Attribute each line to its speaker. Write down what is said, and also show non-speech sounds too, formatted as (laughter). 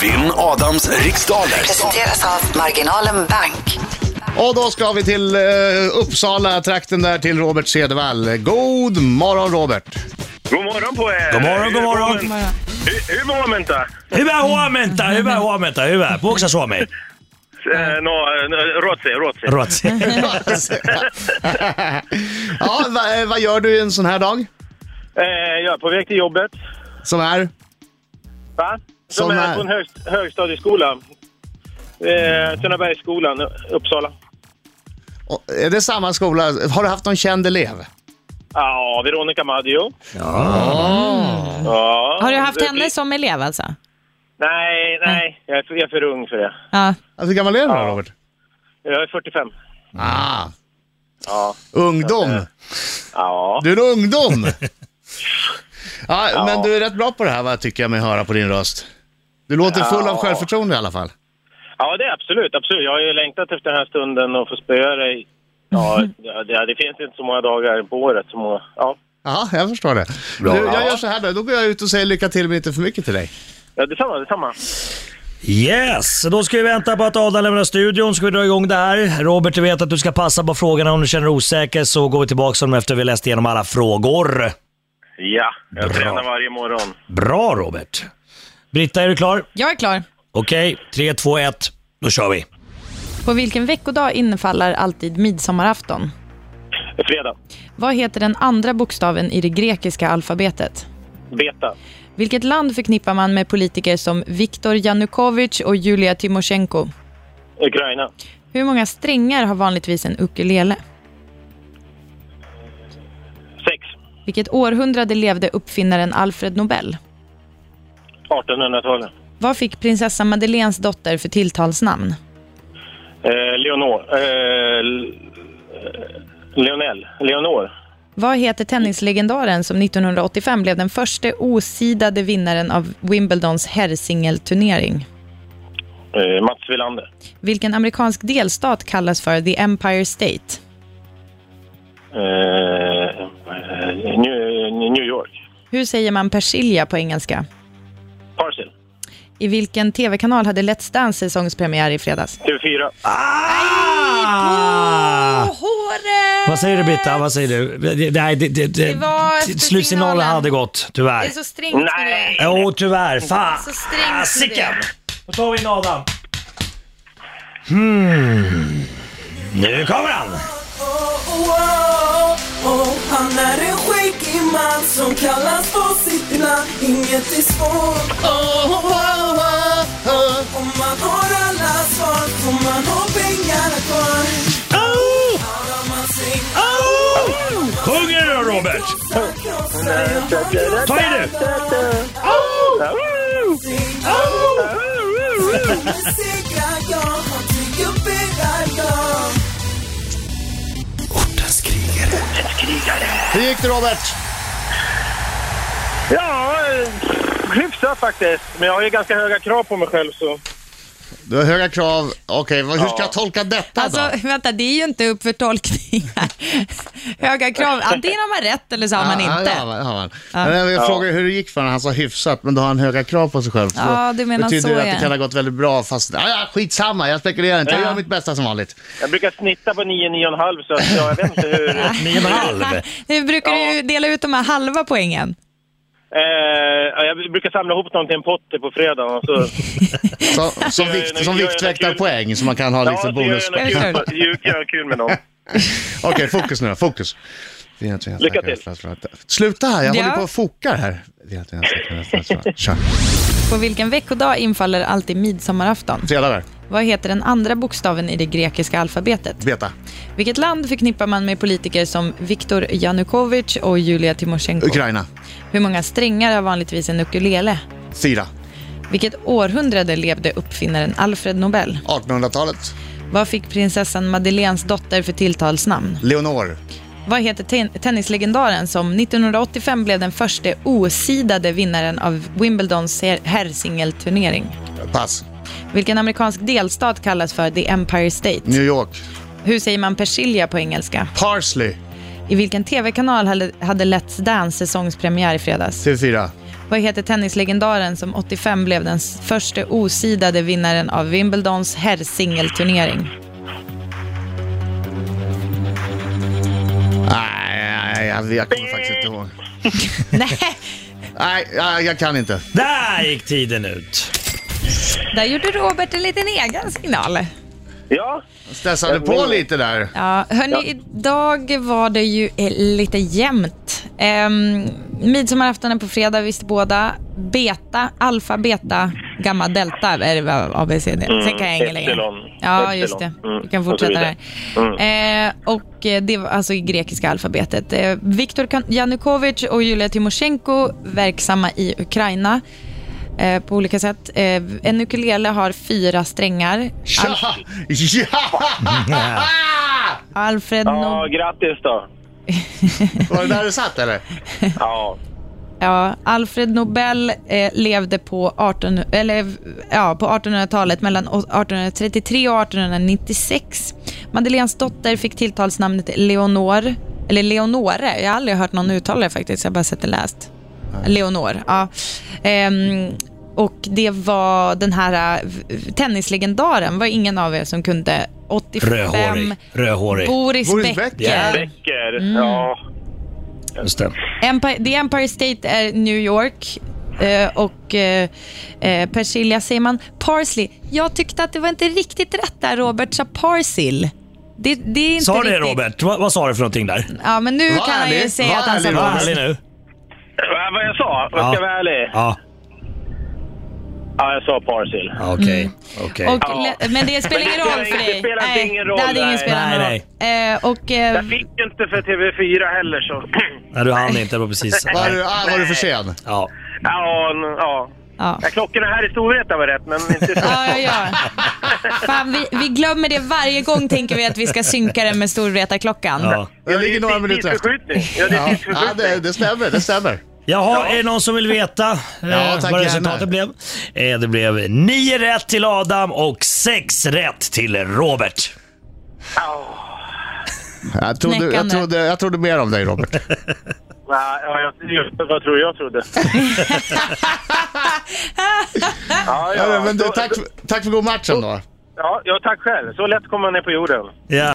Speaker 1: Vinn Adams riksdaler.
Speaker 2: Presenteras av Marginalen Bank.
Speaker 3: Och då ska vi till eh, Uppsala, trakten där, till Robert Cedervall. God morgon Robert!
Speaker 4: God morgon på er!
Speaker 5: God morgon, god morgon.
Speaker 4: Hur- Hur hur mår man inte?
Speaker 5: Hyvää huomenta,
Speaker 6: Mm-hmm.
Speaker 5: hyvää huomenta, hyvää. Puhuuko sä suomea?
Speaker 4: Eh, No, eh, ruotsi, ruotsi.
Speaker 6: (laughs)
Speaker 5: Ruotsi.
Speaker 3: ja, va, eh, vad gör du en sån här dag?
Speaker 4: Eh, Jag är på väg till jobbet.
Speaker 3: Som är?
Speaker 4: Va?
Speaker 3: Som
Speaker 4: Som
Speaker 3: är-
Speaker 4: är på en hög, högstadieskola. Eh, Tunabergsskolan, Uppsala.
Speaker 3: Och Är det samma skola? Har du haft någon känd elev?
Speaker 4: Ja, Veronica Maggio. Ja. ja.
Speaker 6: Har du haft
Speaker 4: det
Speaker 6: henne
Speaker 4: blir-
Speaker 6: som elev alltså?
Speaker 4: Nej, nej. Jag är, för, jag är för ung för det.
Speaker 6: Ja.
Speaker 3: Alltså, Hur gammal är du då Robert?
Speaker 4: Jag är 45.
Speaker 3: Ah,
Speaker 4: Mm. Ja.
Speaker 3: ungdom!
Speaker 4: Ja.
Speaker 3: Du är en
Speaker 4: (laughs)
Speaker 3: ungdom! Ja, Men du är rätt bra på det här va, tycker jag mig höra på din röst. Du låter full av
Speaker 4: Ja.
Speaker 3: självförtroende i alla fall.
Speaker 4: Ja, det är absolut. absolut. Jag har ju längtat efter den här stunden och få spöa dig. Ja,
Speaker 6: Mm.
Speaker 4: det, det finns inte så många dagar på året. Så många, ja.
Speaker 3: Ja, jag förstår det. Du, jag gör så här då, då går jag ut och säger lycka till men inte för mycket till dig.
Speaker 4: ja, detsamma, detsamma.
Speaker 5: Yes, då ska vi vänta på att Adam lämnar studion, ska vi dra igång det här. Robert, du vet att du ska passa på frågorna om du känner dig osäker, så går vi tillbaka till dem efter vi läst igenom alla frågor.
Speaker 4: Ja, jag
Speaker 5: Bra.
Speaker 4: tränar varje morgon.
Speaker 5: Bra Robert. Britta, är du klar?
Speaker 6: Jag är klar.
Speaker 5: Okej, tre, två, ett. Då kör vi.
Speaker 6: På vilken veckodag infaller alltid midsommarafton?
Speaker 4: Fredag.
Speaker 6: Vad heter den andra bokstaven i det grekiska alfabetet?
Speaker 4: Beta.
Speaker 6: Vilket land förknippar man med politiker som Viktor Janukovyc och Julia Tymosjenko?
Speaker 4: Ukraina.
Speaker 6: Hur många strängar har vanligtvis en ukulele?
Speaker 4: Sex.
Speaker 6: Vilket århundrade levde uppfinnaren Alfred Nobel?
Speaker 4: 1800-talet.
Speaker 6: Vad fick prinsessa Madeleines dotter för tilltalsnamn?
Speaker 4: Eh, Leonor. Eh, L- eh, Lionel. Leonor.
Speaker 6: Vad heter tennislegendaren som 1985 blev den första osidade vinnaren av Wimbledons herrsingelturnering?
Speaker 4: Eh, Mats Wilander.
Speaker 6: Vilken amerikansk delstat kallas för The Empire State?
Speaker 4: Eh, eh, New, New York.
Speaker 6: Hur säger man persilja på engelska?
Speaker 4: Parcel.
Speaker 6: I vilken tv-kanal hade Let's Dance säsongspremiär i fredags?
Speaker 4: TV4.
Speaker 5: Ah! Vad säger du Britta? Vad säger du? Det, nej, det, det, det,
Speaker 6: var efter
Speaker 5: slutsignalen
Speaker 6: signalen.
Speaker 5: hade gått, tyvärr.
Speaker 6: strängt med
Speaker 4: Nej!
Speaker 5: Jo, tyvärr. Fan!
Speaker 6: Så strängt med
Speaker 5: Sicken!
Speaker 6: det.
Speaker 5: Då tar vi in Adam. Hmm. Nu kommer han!
Speaker 7: Oh, Han är en skäggig man som kallas på sitt land Inget är svårt Oh, om man har alla svar Får man ha pengarna kvar
Speaker 5: Oh!
Speaker 7: Klarar man sig
Speaker 5: Oh! Sjunger du då Robert?
Speaker 7: krossar jag
Speaker 5: Ta i nu!
Speaker 7: Med segrar jag Han tycker berar jag
Speaker 3: Hur gick det Robert?
Speaker 4: Ja, eh, hyfsat faktiskt. Men jag har ju ganska höga krav på mig själv så...
Speaker 3: Du har höga krav. Okej, vad- hur ska jag tolka detta då?
Speaker 6: Alltså, vänta, det är ju inte upp för tolkning här. (laughs) Höga krav. Antingen har man rätt eller så har man
Speaker 3: Ja,
Speaker 6: inte.
Speaker 3: Ja, det har man, det har man. Men jag frågar hur det gick för honom. Han sa hyfsat, men då har han höga krav på sig själv. Så
Speaker 6: Ja, du menar
Speaker 3: betyder
Speaker 6: så,
Speaker 3: det att
Speaker 6: ja.
Speaker 3: det kan ha gått väldigt bra fast... Ja, ja, skitsamma, jag spekulerar inte. Jag gör mitt bästa som vanligt.
Speaker 4: Jag brukar snitta på 9, 9,5 så att jag jag vet inte hur... (laughs)
Speaker 5: Nio
Speaker 6: (laughs)
Speaker 5: och en halv.
Speaker 6: Nu brukar du ju dela ut de här halva poängen.
Speaker 4: Eh, ja, jag brukar samla ihop dem till en potter på fredag och så...
Speaker 3: Så, som
Speaker 4: Ja,
Speaker 3: vikt,
Speaker 4: ja,
Speaker 3: som
Speaker 4: ja, ja,
Speaker 3: viktväktarpoäng, så man kan ha
Speaker 4: Ja,
Speaker 3: liksom
Speaker 4: det
Speaker 3: bonus.
Speaker 4: är
Speaker 6: Är det
Speaker 4: kul, ju- gör jag kul med dem.
Speaker 3: Okej, fokus nu då. Fokus.
Speaker 4: Lycka till.
Speaker 3: Sluta här, jag
Speaker 6: Ja.
Speaker 3: håller på och fokar här. Kör.
Speaker 6: På vilken veckodag infaller alltid midsommarafton?
Speaker 3: Fredagar,
Speaker 6: Vad heter den andra bokstaven i det grekiska alfabetet?
Speaker 3: beta.
Speaker 6: Vilket land förknippar man med politiker som Viktor Janukovyc och Julia Tymosjenko?
Speaker 3: Ukraina,
Speaker 6: Hur många strängar har vanligtvis en ukulele?
Speaker 3: Sida,
Speaker 6: Vilket århundrade levde uppfinnaren Alfred Nobel?
Speaker 3: 1800-talet,
Speaker 6: Vad fick prinsessan Madeleines dotter för tilltalsnamn?
Speaker 3: Leonor,
Speaker 6: Vad heter ten- tennislegendaren som 1985 blev den första osidade vinnaren av Wimbledons her- herrsingelturnering?
Speaker 3: pass,
Speaker 6: Vilken amerikansk delstat kallas för The Empire State?
Speaker 3: New York,
Speaker 6: Hur säger man persilja på engelska?
Speaker 3: Parsley,
Speaker 6: I vilken tv-kanal hade- hade Let's Dance säsongspremiär i fredags?
Speaker 3: TV4,
Speaker 6: Vad heter tennislegendaren som 85 blev den s- första osidade vinnaren av Wimbledons herrsingelturnering?
Speaker 3: Nej, nej, jag, jag kommer faktiskt inte ihåg.
Speaker 6: Nej,
Speaker 3: Nej, jag, jag kan inte.
Speaker 5: Där gick tiden ut.
Speaker 6: där gjorde Robert en liten egen signal.
Speaker 4: Ja,
Speaker 3: Stressade på lite där.
Speaker 6: Ja, hörni, idag var det ju eh, lite jämnt. Ehm, midsommarafton är på fredag, visste båda. Beta, alfa, beta, gamma, delta är det väl, A, B, C, D. Sen kan jag inget längre.
Speaker 4: Mm, epsilon.
Speaker 6: Ja,
Speaker 4: Epsilon.
Speaker 6: just det.
Speaker 4: Mm,
Speaker 6: Vi kan
Speaker 4: och så
Speaker 6: fortsätta där.
Speaker 4: vidare. Mm.
Speaker 6: Eh, och eh, det var alltså i grekiska alfabetet. Eh, Viktor Kan- Janukovic och Julia Tymosjenko verksamma i Ukraina eh, på olika sätt. Eh, en ukulele har fyra strängar. Al-
Speaker 3: Ja! (laughs) Ja!
Speaker 6: Alfred
Speaker 4: ja
Speaker 6: Nobel...
Speaker 4: grattis då.
Speaker 3: Var det där du satt eller?
Speaker 4: Ja,
Speaker 6: Ja, Alfred Nobel eh, levde på, 18, eller, ja, på 1800-talet mellan 1833 och 1896. Madeleines dotter fick tilltalsnamnet Leonor, eller Leonore. Jag har aldrig hört någon uttala det faktiskt, jag har bara sett det läst. Leonor, ja. Ehm, och det var den här eh, tennislegendaren, var ingen av er som kunde. 85,
Speaker 5: Rödhårig. Rödhårig.
Speaker 6: Boris,
Speaker 3: Boris
Speaker 6: Becker.
Speaker 3: Becker.
Speaker 4: Becker. Ja.
Speaker 5: Just det.
Speaker 6: Empire, The Empire State är New York. eh, och eh, eh, persilja säger man parsley. Jag tyckte att det var inte riktigt rätt där Robert sa parsil. Det, det är inte
Speaker 5: Sa det
Speaker 6: riktigt.
Speaker 5: Robert? Vad, vad sa du för någonting där?
Speaker 6: Ja, men nu
Speaker 3: Var
Speaker 6: kan han ju
Speaker 3: ärlig, var
Speaker 6: säga att han sa
Speaker 3: ärlig,
Speaker 5: Var
Speaker 3: Robert.
Speaker 5: ärlig nu.
Speaker 4: Vad- Äh, Vad jag sa? Vad ska
Speaker 5: Ja.
Speaker 4: jag vara ärlig?
Speaker 5: Ja,
Speaker 4: Ja, jag sa Parsil.
Speaker 5: ja, okej. okej.
Speaker 6: Och,
Speaker 4: Ja.
Speaker 6: le- Men det spelar ingen
Speaker 4: Men det
Speaker 6: roll för
Speaker 4: spelar-
Speaker 6: dig.
Speaker 4: det spelar
Speaker 6: Nej,
Speaker 4: ingen roll,
Speaker 6: Det hade ingen
Speaker 4: nej.
Speaker 6: spelat någon
Speaker 5: Nej,
Speaker 6: roll. Eh, och, eh,
Speaker 4: Jag fick ju inte för TV4 heller så...
Speaker 5: Nej, du hann inte. Det var precis.
Speaker 3: Var du,
Speaker 5: Nej.
Speaker 3: ah, var du för sen?
Speaker 5: Ja.
Speaker 4: Ja, n- ja.
Speaker 6: ja.
Speaker 4: ja klockorna här i Storvreta var rätt, men inte...
Speaker 6: Ja, ja, ja. Fan, vi, vi glömmer det varje gång tänker vi att vi ska synka den med storvretarklockan.
Speaker 5: ja.
Speaker 3: Jag ligger några
Speaker 4: tids-
Speaker 3: minuter efter.
Speaker 4: tidsförskjutning. Ja, det är
Speaker 3: Ja, ja
Speaker 4: tidsförskjutning.
Speaker 3: det, det stämmer, det stämmer.
Speaker 5: Jaha, är det någon som vill veta eh,
Speaker 3: tack,
Speaker 5: vad
Speaker 3: gärna.
Speaker 5: resultatet blev? Eh, det blev 9 rätt till Adam och 6 rätt till Robert.
Speaker 3: Jag trodde, jag,
Speaker 6: Knäckande.
Speaker 3: trodde, jag trodde mer om dig Robert.
Speaker 4: Ja, ja, jag, just, vad tror jag trodde? ja,
Speaker 3: Ja, men du,
Speaker 4: så-
Speaker 3: tack, för- tack för god match ändå.
Speaker 4: ja, ja, tack själv. Så lätt kommer man ner på jorden.
Speaker 5: Ja.